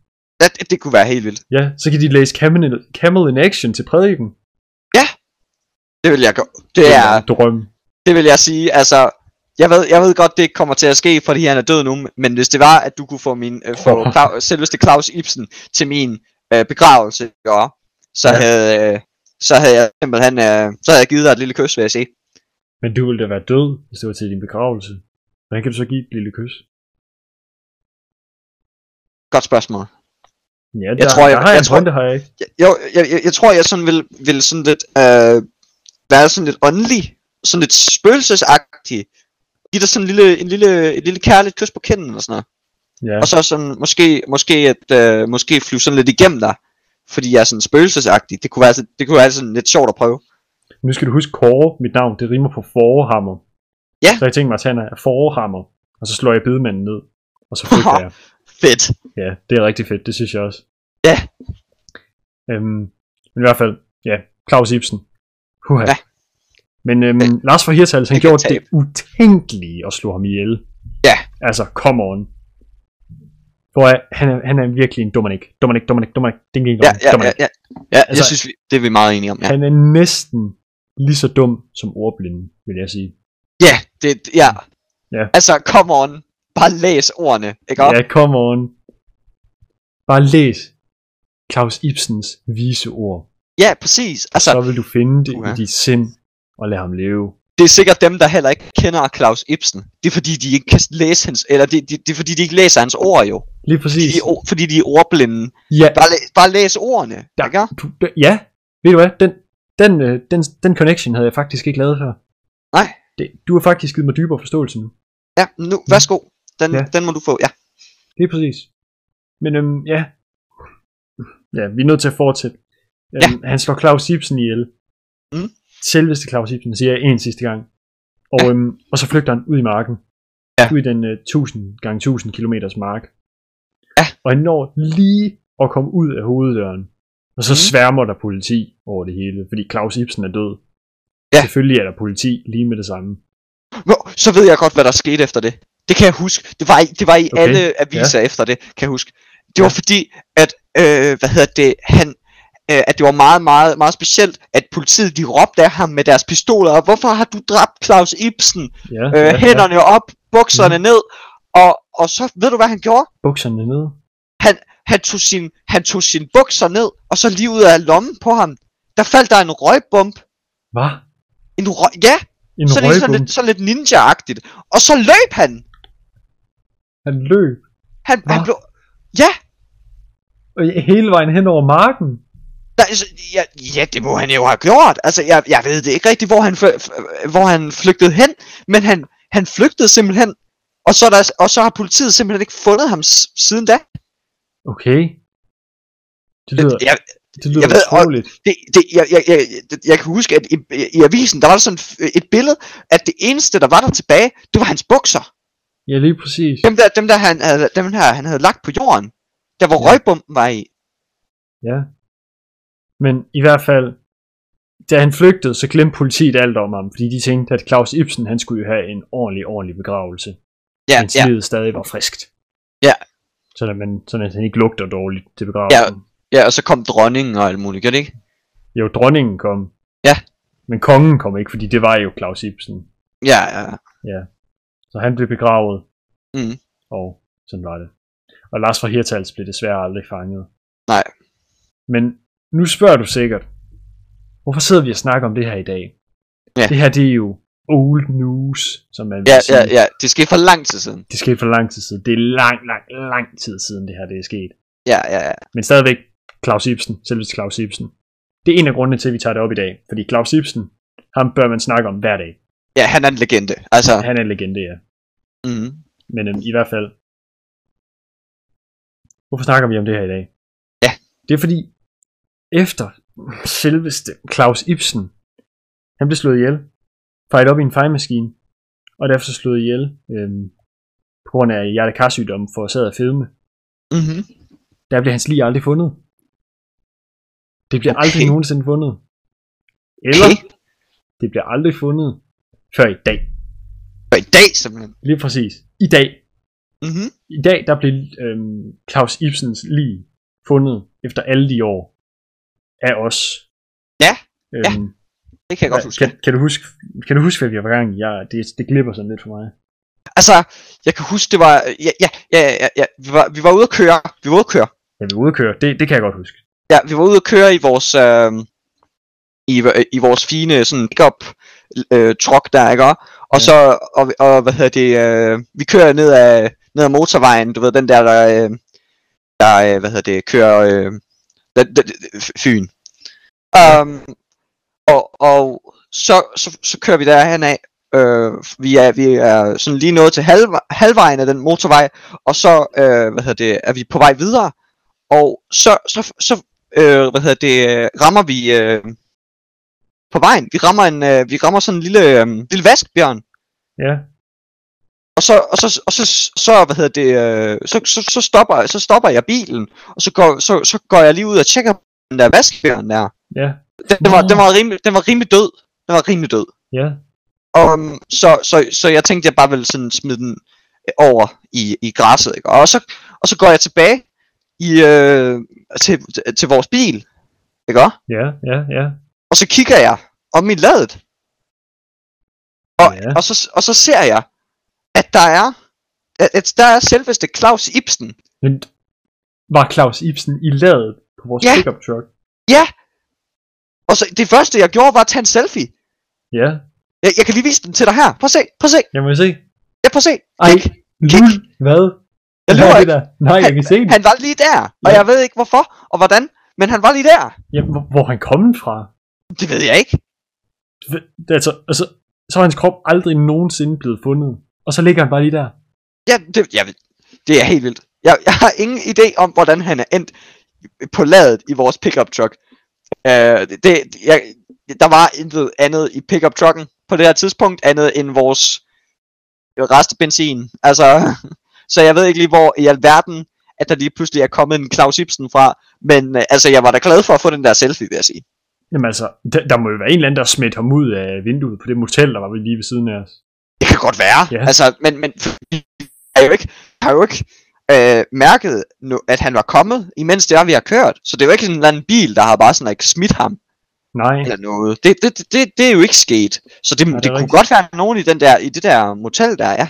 Ja, det, det kunne være helt vildt.
Ja, så kan de læse Camel in, Camel in Action til prædiken.
Det vil jeg gøre.
Det
Det
er
er,
en drøm.
det vil jeg sige, altså, jeg ved, jeg ved godt, det ikke kommer til at ske, fordi han er død nu, men hvis det var, at du kunne få min, øh, få Clau, selveste Claus Ibsen til min øh, begravelse, ja, så,
Ja.
ja. havde, øh, så havde jeg simpelthen, øh, så havde jeg givet dig et lille kys, vil jeg sige.
Men du ville da være død, hvis det var til din begravelse. Hvordan kan du så give et lille kys?
Godt spørgsmål.
Ja, der, jeg
tror,
tror,
jeg-
der har jeg,
jeg
en
tror-
pointe, har jeg ikke.
Jeg, jeg, jeg, jeg, jeg tror, jeg sådan vil, vil sådan lidt, øh, være sådan lidt åndelig, sådan lidt spøgelsesagtig, give dig sådan en lille, en lille, et lille kærligt kys på kinden og sådan noget.
Ja,
Og så sådan, måske, måske, at, øh, måske flyve sådan lidt igennem dig, fordi jeg er sådan spøgelsesagtig. Det kunne være, sådan- det kunne være sådan lidt sjovt at prøve.
nu skal du huske Kåre, mit navn, det rimer på forhammer.
Ja.
Så jeg tænkte mig at tage en forhammer, og så slår jeg bedemanden ned, og så flygter jeg.
Fedt.
Ja, det er rigtig fedt, det synes jeg også.
Ja.
Øhm, men i hvert fald, ja, Claus Ibsen. Huha.
Ja.
Men øhm,
Ja.
Lars fra Hirtals, han
Det kan
gjorde det
tabe.
utænkelige at slå ham ihjel.
Ja.
Altså, come on. For han er, han er virkelig en Dominik. Dominik, Dominik, Dominik. Det er
Ja, ja, ja,
Dominik.
ja. ja jeg
Altså-
synes, vi, det er vi meget enige om. Ja,
Han er næsten lige så dum som ordblinden, vil jeg sige.
ja det, ja.
Ja.
Altså, come on. Bare læs ordene, ikke
Ja,
også?
come on. Bare læs Claus Ibsens vise ord.
Ja, præcis. Altså,
så vil du finde det i
Uha.
dit sind og lade ham leve.
det er sikkert dem, der heller ikke kender Claus Ibsen. Det er fordi, de ikke kan læse hans, eller det, det, det er fordi, de ikke læser hans ord jo.
Lige præcis.
De er, o- fordi de er ordblinde.
Ja,
Bare, læ, bare læs ordene,
Ja.
ikke også?
du, d- ja, ved du hvad, den, den, øh, den, den connection havde jeg faktisk ikke lavet før.
Nej.
Det, du har faktisk givet mig dybere forståelse nu.
Ja, nu, værsgo. Den,
Ja.
den må du få, ja.
Lige præcis. Men øhm, ja. Ja, vi er nødt til at fortsætte. Øhm,
Ja.
Han slår Claus Ibsen ihjel.
Mm.
Selveste Claus Ibsen, siger jeg en sidste gang. Og, ja. øhm, og så flygter han ud i marken.
Ja.
Ud i den øh, 1000 gange 1000 kilometers mark.
Ja.
Og han når lige at komme ud af hoveddøren. Og så
Mm.
sværmer der politi over det hele, fordi Claus Ibsen er død.
Ja.
Selvfølgelig er der politi lige med det samme.
Nå, så ved jeg godt, hvad der skete efter det. Det kan jeg huske. Det var i, det var i
Okay,
okay. alle aviser ja. efter det, kan jeg huske. Det var
Ja.
fordi, at, øh, hvad hedder det, han, øh, at det var meget, meget, meget specielt, at politiet, de råbte af ham med deres pistoler, og hvorfor har du dræbt Claus Ibsen?
Ja,
Øh,
ja, Mm. ja.
hænderne op, bukserne ned, og, og så, ved du hvad han gjorde?
Bukserne nede.
Han tog, sin, han tog sin bukser ned, og så lige ud af lommen på ham, der faldt der en røgbomb.
Hvad?
En røg, ja,
En
så lige sådan
røgbom.
lidt, sådan lidt ninja-agtigt. Og så løb han.
Han løb
Han,
Hva?
han blev, ja,
Og Øh, hele vejen hen over marken.
Der, altså, ja, ja, det må han jo have gjort. Altså, jeg, jeg ved det ikke rigtigt, hvor han, fl- f- hvor han flygtede hen, men han, han flygtede simpelthen, og så, er der, og så har politiet simpelthen ikke fundet ham s- siden da.
Okay. Det lyder,
Jeg,
det lyder
jeg ved- og-
utroligt.
det, det, jeg, jeg, jeg, jeg, jeg kan huske, at i, i avisen, der var der sådan et billede, at det eneste, der var der tilbage, det var hans bukser.
Ja, lige præcis.
Dem der, dem der han, havde, dem her, han havde lagt på jorden, der hvor
Ja.
ja. røgbomben var i.
Ja. Men i hvert fald, da han flygtede, så glemte politiet alt om ham, fordi de tænkte, at Claus Ibsen, han skulle jo have en ordentlig, ordentlig begravelse.
Ja,
mens
ja,
livet stadig var friskt.
Ja.
Sådan at, man, sådan at han ikke lugter dårligt til begravelsen. Ja.
ja, og så kom dronningen og alt muligt, gør det ikke?
Jo, dronningen kom.
Ja.
Men kongen kom ikke, fordi det var jo Claus Ibsen.
Ja, ja, ja.
Så han blev begravet.
Mm.
Og sådan var det. Og Lars fra Hirtals blev desværre aldrig fanget.
Nej.
Men nu spørger du sikkert, hvorfor sidder vi og snakker om det her i dag?
Ja.
Det her, det er jo old news, som man vil
ja,
sige.
ja, ja. Det skete for lang tid siden.
Det skete for lang tid siden. Det er lang, lang, lang tid siden, det her det er sket.
Ja, ja, ja.
Men stadigvæk Claus Ibsen, selveste Claus Ibsen. Det er en af grundene til, at vi tager det op i dag. Fordi Claus Ibsen, ham bør man snakke om hver dag.
Ja, han er en legende. Altså,
Han er en legende, ja.
mm,
Men øhm, i hvert fald, hvorfor snakker vi om det her i dag?
Ja.
Det er fordi, efter selveste Claus Ibsen, han blev slået ihjel, fejret op i en fejlmaskine, og derfor så slået ihjel øhm, på grund af hjertekarsygdom forårsaget af fedme.
mm-hmm.
der bliver hans lige aldrig fundet. Det bliver okay. aldrig
Okay.
nogensinde fundet. Eller
Okay.
det bliver aldrig fundet før i dag.
Og i dag simpelthen.
Lige præcis. I dag.
Mm-hmm.
I dag der blev øhm, Claus Ibsens lige fundet efter alle de år af os.
Ja,
Øhm,
ja. Det kan jeg godt huske.
Kan, kan, du huske, kan du huske, hvad vi var gang i? Jeg, det, det glipper sådan lidt for mig.
Altså, jeg kan huske, det var... Ja, ja, ja, ja, ja. Vi, var, vi var ude at køre. Vi var ude at køre.
Ja, vi var ude at køre. Det, det kan jeg godt huske.
Ja, vi var ude at køre i vores, øh, i, øh, i vores fine sådan pickup øh, truck der, ikke?
Ja.
Og ja. så, og, og, hvad hedder det, øh, vi kører ned ad, ned ad motorvejen, du ved, den der, der, øh, der øh, hvad hedder det, kører øh, der, der, der, Fyn. Um, og, og så, så, så kører vi derhen af, øh, vi, er, vi er sådan lige nået til halv, halvvejen af den motorvej, og så, øh, hvad hedder det, er vi på vej videre, og så, så, så øh, hvad hedder det, øh, rammer vi øh, på vejen. Vi rammer, en, øh, vi rammer sådan en lille, øh, lille vaskbjørn.
Ja,
Og så, og så, og så, så hvad hedder det, øh, så, så, så, stopper, så stopper jeg bilen, og så går, så, så går jeg lige ud og tjekker den der vaskbjørn der.
ja,
Den, den, var,
Nå.
den, var rimelig, den var rimelig død. Den var rimelig død.
ja.
Og, øhm, så, så, så jeg tænkte, jeg bare ville sådan smide den øh, over i, i græsset. Ikke? Og, så, og så går jeg tilbage i, øh, til, til vores bil. Ikke? også?
Ja, ja, ja.
Og så kigger jeg om i ladet. Og,
Ja.
ja. og, så, og så ser jeg, at der er, at, at der er selveste Claus Ibsen.
Men var Claus Ibsen i ladet på vores
Ja.
pickup truck?
Og så det første, jeg gjorde, var at tage en selfie.
Ja,
Jeg, jeg kan lige vise den til dig her. Prøv at se, prøv at se,
jeg må se.
ja, prøv at se.
Ej,
Kig.
Lul, hvad?
Jeg
Hvad
lover
er det
ikke,
der? Nej, jeg kan se det.
han var lige der. Og
Ja.
jeg ved ikke hvorfor og hvordan, men han var lige der.
Ja, hvor, hvor er han kommet fra?
Det ved jeg ikke.
Det er Altså, altså, så er hans krop aldrig nogensinde blevet fundet. Og så ligger han bare lige der.
Ja, det, jeg, ved- det er helt vildt. Jeg, jeg har ingen idé om, hvordan han er endt på ladet i vores pickup truck. Uh, det, det- jeg, der var intet andet i pickup trucken på det her tidspunkt, andet end vores restbenzin. Altså, (laughs) så jeg ved ikke lige, hvor i alverden, at der lige pludselig er kommet en Claus Ibsen fra. Men uh, altså, jeg var da glad for at få den der selfie, vil jeg sige.
Jamen altså, der, der må jo være en eller anden, der har smidt ham ud af vinduet på det motel, der var lige ved siden af os.
Det kan godt være.
Ja.
Yeah. Altså, men, men vi har jo ikke, har jo ikke øh, mærket, nu, at han var kommet, imens det er, vi har kørt. Så det er jo ikke sådan en eller anden bil, der har bare sådan ikke smidt ham
Nej,
eller noget. Det, det, det- det, det er jo ikke sket. Så det,
Nej, det er
det, det kunne
rigtigt.
godt være nogen i, den der, i det der motel der, ja.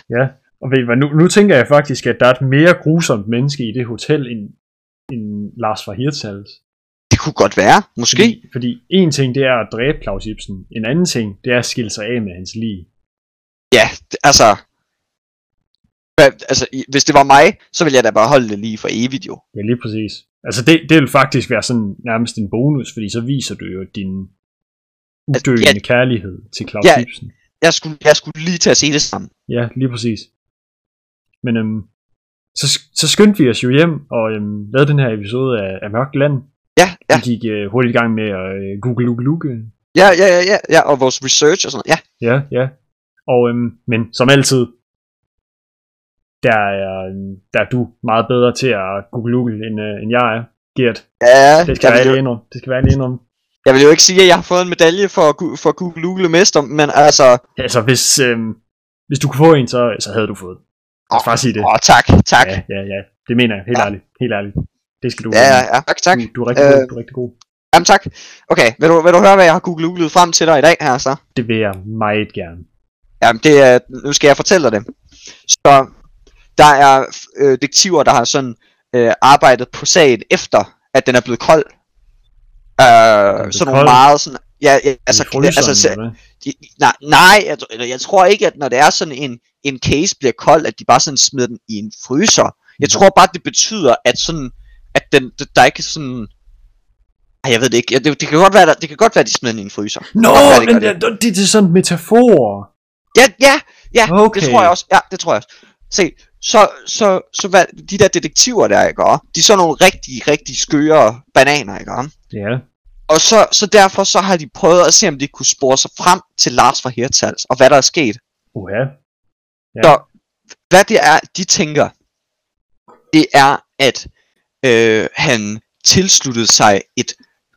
og ved I hvad, nu, nu tænker jeg faktisk, at der er et mere grusomt menneske i det hotel, end, end Lars fra Hirtshals.
Det kunne godt være, måske.
Fordi, fordi en ting, det er at dræbe Claus Ibsen. En anden ting, det er at skille sig af med hans lig.
Ja,
Mm.
det- altså... Hvad, altså, i- hvis det var mig, så ville jeg da bare holde det lige for evigt, jo.
Ja, lige præcis. Altså det, det vil faktisk være sådan nærmest en bonus, fordi så viser du jo din udødende Altså, ja. kærlighed til Claus ja.
Ja.
Ibsen.
Jeg skulle, jeg skulle lige til at se det sammen.
Ja, lige præcis. Men øhm, så, så skyndte vi os jo hjem og øhm, lavede den her episode af, af Mørkt Land.
Ja, ja,
Vi gik øh, hurtigt i gang med at øh, google google google.
ja, ja, ja, ja, ja, og vores research og sådan noget. Ja,
Ja, ja. Og øhm, men som altid, der er, øhm, der er du meget bedre til at google google end, øh, end jeg er, Gert.
ja
Det skal
jeg
være
ville jo-
lige indrømme. Det skal være lige indrømme.
Jeg vil jo ikke sige, at jeg har fået en medalje for, gu- for Google Google Mester, men altså...
Altså, hvis, øhm, hvis du kunne få en, så, så havde du fået. Lad os bare sige det.
Åh, tak, tak.
Ja, ja, ja. Det mener jeg. Helt
Ja.
ærligt. Helt ærligt. Det skal du.
Ja, ja,
øhm,
ja. Tak, tak.
Du, du er rigtig god.
Øh.
Du er rigtig god.
Jamen, tak. Okay, vil du, vil du høre, hvad jeg har Google Googlet frem til dig i dag her, så?
Det vil jeg meget gerne.
Jamen, det er, nu skal jeg fortælle dig det. Så der er øh, detektiver, der har sådan øh, arbejdet på sagen efter, at den er blevet kold. Øh, sådan
blevet
nogle
kold?
meget sådan... Ja, ja altså,
Altså, fryseren,
altså,
altså,
se- de, nej, nej jeg, tr- eller jeg tror ikke, at når det er sådan en, en case bliver kold, at de bare sådan smider den i en fryser. Jeg tror bare, det betyder, at sådan, at den, det- der ikke sådan, Ej, jeg ved det ikke, Ja, det, det kan godt være, der, det kan godt være, at de smider den i en fryser.
Nå,
Godt være, de
men
gør
det, det, det er sådan en metafor.
Ja, ja, ja,
Okay.
okay. det tror jeg også, ja, det tror jeg også. Se, så, så, så hvad, de der detektiver der, ikke også? de er sådan nogle rigtig, rigtig skøre bananer, ikke også?
Ja,
Og så, så derfor så har de prøvet at se, om de kunne spore sig frem til Lars fra Hirtals, og hvad der er sket.
uha.
hvad det er, de tænker, det er, at øh, han tilsluttede sig et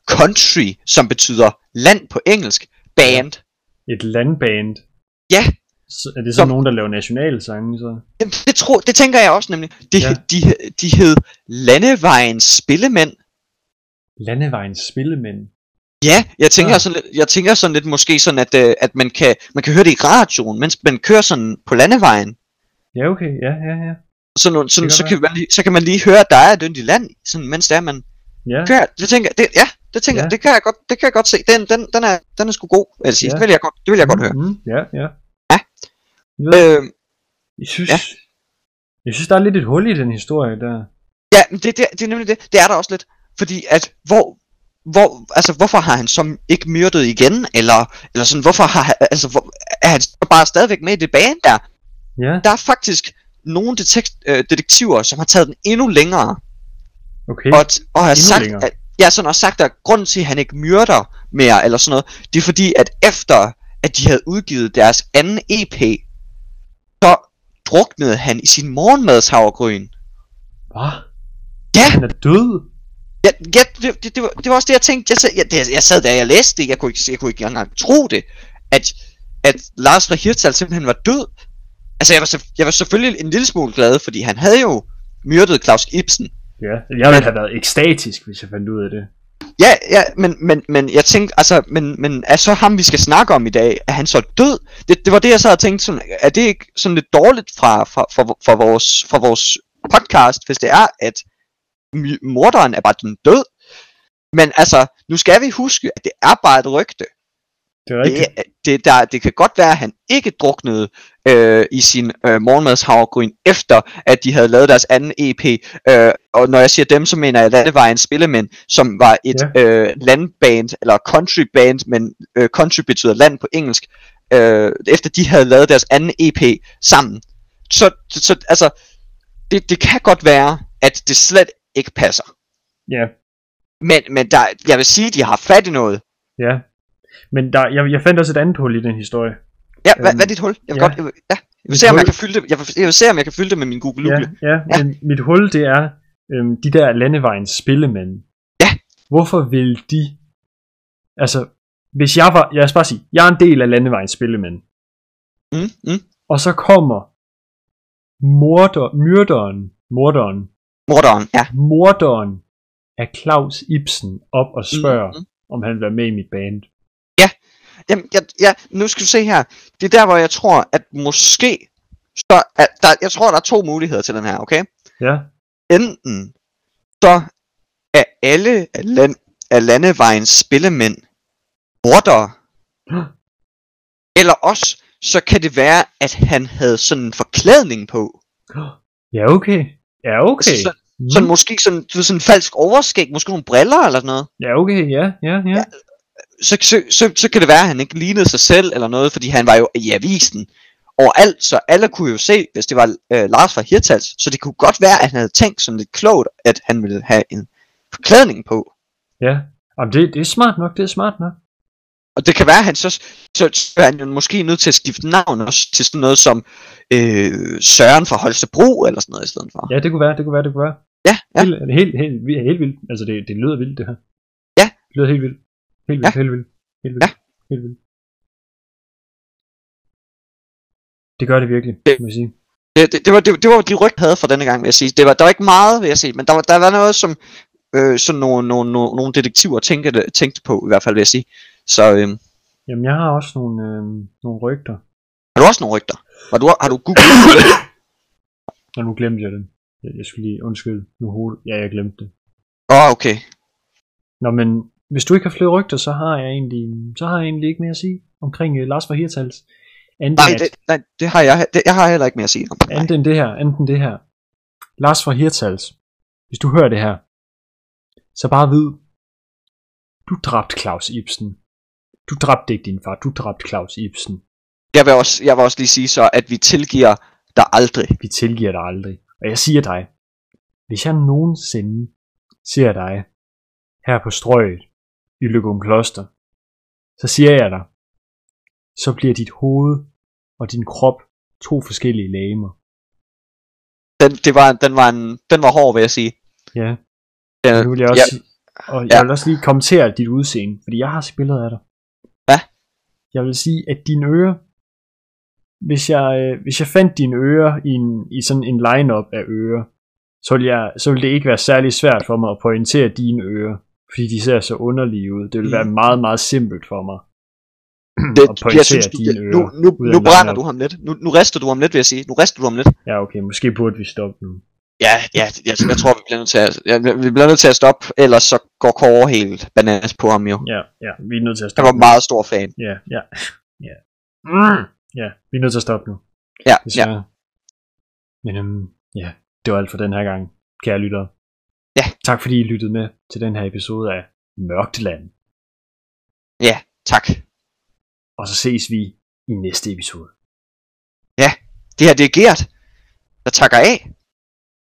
country, som betyder land på engelsk, band.
Et landband.
Ja.
Så er det så
Som-
nogen, der laver nationalsange, så?
Jamen, det, tro, det tænker jeg også nemlig. De,
Ja.
ja. de, de hed Landevejens Spillemænd.
Landevejens spillemænd.
Ja, jeg tænker,
Ja.
ja. Sådan lidt, jeg tænker sådan lidt måske sådan, at, øh, at man, kan, man kan høre det i radioen, mens man kører sådan på landevejen.
Ja, okay. Ja, ja, ja.
Sådan, nogle- sådan,
Det kan
så,
godt
kan man lige, så kan man lige høre, at der er et yndigt land, sådan, mens det er, man
Ja,
kører. Det tænker, jeg- det, ja, det tænker
Ja.
ja. det kan jeg godt, det kan jeg godt se. Den, den, den, er, den er sgu god. Altså,
Ja.
ja. det, vil jeg godt, det vil jeg godt høre.
Mm, ja, ja.
Øh,
Jeg synes,
Ja.
jeg synes, der er lidt et hul i den historie der.
ja, men det, det, det, er nemlig det. Det er der også lidt. Fordi at, hvor, hvor, altså, hvorfor har han så ikke myrdet igen? Eller, eller sådan, hvorfor har, han- altså, hvor, er han så bare stadigvæk med i det bane der?
Ja,
Der er faktisk nogle detekt, øh, detektiver, som har taget den endnu længere.
okay.
Og, t- og har
Endnu
sagt,
længere?
at, ja, sådan har sagt, at grunden til, at han ikke myrder mere, eller sådan noget, det er fordi, at efter, at de havde udgivet deres anden EP, så druknede han i sin morgenmadshavregryn.
Hvad?
Ja.
Han er død?
Ja, ja det, det, det, var, det var også det, jeg tænkte. Jeg sad, jeg, det, jeg sad der, jeg læste det. Jeg kunne ikke, jeg kunne ikke engang tro det. At, at Lars fra Hirtal simpelthen var død. Altså, jeg var, selv- jeg var selvfølgelig en lille smule glad, fordi han havde jo myrdet Claus Ibsen.
Ja, jeg ville have været ekstatisk, hvis jeg fandt ud af det.
Ja, ja, men, men, men jeg tænkte, altså, men, men er så ham, vi skal snakke om i dag, er han så død? Det, det var det, jeg sad og tænkte, sådan, er det ikke sådan lidt dårligt fra, fra, fra, fra, vores, fra vores podcast, hvis det er, at my- morderen er bare den død? Men altså, nu skal vi huske, at det er bare et rygte.
Det er rigtigt.
Det, er- det, der, det kan godt være, at han ikke druknede øh, i sin øh, morgenmadshavregryn, efter at de havde lavet deres anden EP. Øh, og når jeg siger dem, så mener jeg Landevejens Spillemænd, som var et ja. øh, landband, eller countryband, men øh, country betyder land på engelsk, øh, efter de havde lavet deres anden EP sammen. Så, så, så altså, det, det kan godt være, at det slet ikke passer.
Ja,
Men, men der, jeg vil sige, at de har fat i noget.
ja. Men der, jeg, jeg fandt også et andet hul i den historie.
Ja, hvad,
Øhm,
hvad er dit hul? Jeg vil
ja.
ja. godt, jeg vil, ja. Jeg vil
Mit
se, om
hul-
jeg kan fylde det, jeg vil, jeg vil se, om jeg kan fylde det med min Google Lugle.
Ja, ja, men mit hul det er øhm, de der landevejens spillemænd.
Ja.
Hvorfor vil de... Altså, hvis jeg var... Jeg skal bare sige, jeg er en del af landevejens spillemænd.
Mm, mm.
Og så kommer morder, myrderen, morderen,
Morderen, ja.
morderen af Claus Ibsen op og spørger,
Mm, mm.
om han vil være med i mit band.
Jamen, ja, ja, nu skal du se her. Det er der, hvor jeg tror, at måske... Så, at der, jeg tror, der er to muligheder til den her, okay?
Ja,
Enten så er alle af, land, af landevejens spillemænd
(gasps)
mordere.
Huh?
Eller også, så kan det være, at han havde sådan en forklædning på.
ja okay. Ja, okay.
Så,
Mm.
sådan måske sådan, du ved, sådan en falsk overskæg, måske nogle briller eller sådan noget.
Ja, okay, ja, ja, ja.
så, så, så, så kan det være, at han ikke lignede sig selv eller noget, fordi han var jo i avisen overalt, så alle kunne jo se, hvis det var øh, Lars fra Hirtals, så det kunne godt være, at han havde tænkt sådan lidt klogt, at han ville have en forklædning på.
Ja. Jamen, det, det er smart nok, det er smart nok.
Og det kan være, at han så, så, så er han jo måske nødt til at skifte navn også til sådan noget som øh, Søren fra Holstebro eller sådan noget i stedet for.
Ja, det kunne være, det kunne være, det kunne være.
Ja, ja.
Helt, helt, helt, vi- helt vildt. Altså, det, det lyder vildt, det her.
Ja.
Det lyder helt vildt. Helt vildt, ja. helt vildt. Helt vildt.
Ja.
Helt vildt. Det gør det virkelig,
Det-
må jeg sige.
Det, det, det, var, det, det var de ryg havde for denne gang, vil jeg sige. Det var, der var ikke meget, vil jeg sige, men der var, der var noget, som øh, sådan nogle, nogle, nogle, nogle detektiver tænkte, tænkte på, i hvert fald, vil jeg sige. Så øh,
Jamen, jeg har også nogle, øh, nogle rygter.
har du også nogle rygter? Har du, har du googlet?
(coughs) Og nu glemte jeg den. Jeg, jeg skulle lige undskylde. Nu hoved. Ja, jeg glemte det.
Åh, oh, okay.
Nå, men hvis du ikke har flere rygter, så har jeg egentlig, så har jeg egentlig ikke mere at sige omkring øh, Lars fra Hirtals. Andet
Nej,
end at-
det, nej, det har jeg, det, jeg har heller ikke mere at sige om. Nej.
Andet end det her, andet end det her. Lars fra Hirtals, hvis du hører det her, så bare vid, du dræbte Claus Ibsen. Du dræbte ikke din far, du dræbte Claus Ibsen.
Jeg vil, også, jeg vil også lige sige så, at vi tilgiver dig aldrig.
Vi tilgiver dig aldrig. Og jeg siger dig, hvis jeg nogensinde ser dig her på strøget i Løgum Kloster, så siger jeg dig, så bliver dit hoved og din krop to forskellige lamer.
Den, det var, den, var en, den var hård, vil jeg sige.
Ja,
Øh, Ja,
Og nu vil jeg også, ja. og jeg
Ja.
vil også lige kommentere dit udseende, fordi jeg har set billeder af dig.
Hvad?
Jeg vil sige, at dine ører, hvis jeg, øh, hvis jeg fandt dine ører i, en, i sådan en lineup af ører, så ville, jeg, så ville det ikke være særlig svært for mig at pointere dine ører, fordi de ser så underlige ud. Det ville
Mm.
være meget, meget simpelt for mig
det,
at
jeg
pointere
synes, du,
dine ører.
nu, nu,
ud af
nu
en
brænder du
lineup.
ham lidt. Nu, nu rister du ham lidt, vil jeg sige. Nu rister du ham lidt.
Ja, okay, måske burde vi stoppe nu.
Ja, ja jeg, jeg tror, vi bliver nødt til at, ja, vi bliver nødt til at stoppe, ellers så går Kåre helt bananas på ham jo.
Ja, ja, vi er nødt til at
Han
stoppe
var
nu.
meget stor fan.
Ja, ja, ja. Mm. Ja, vi er nødt til at stoppe nu.
Ja, ja.
desværre. Men øhm, ja, det var alt for den her gang, kære lyttere.
Ja.
Tak fordi I lyttede med til den her episode af Mørkteland.
Tak.
Og så ses vi i næste episode.
Det her, det er Gert, der takker af.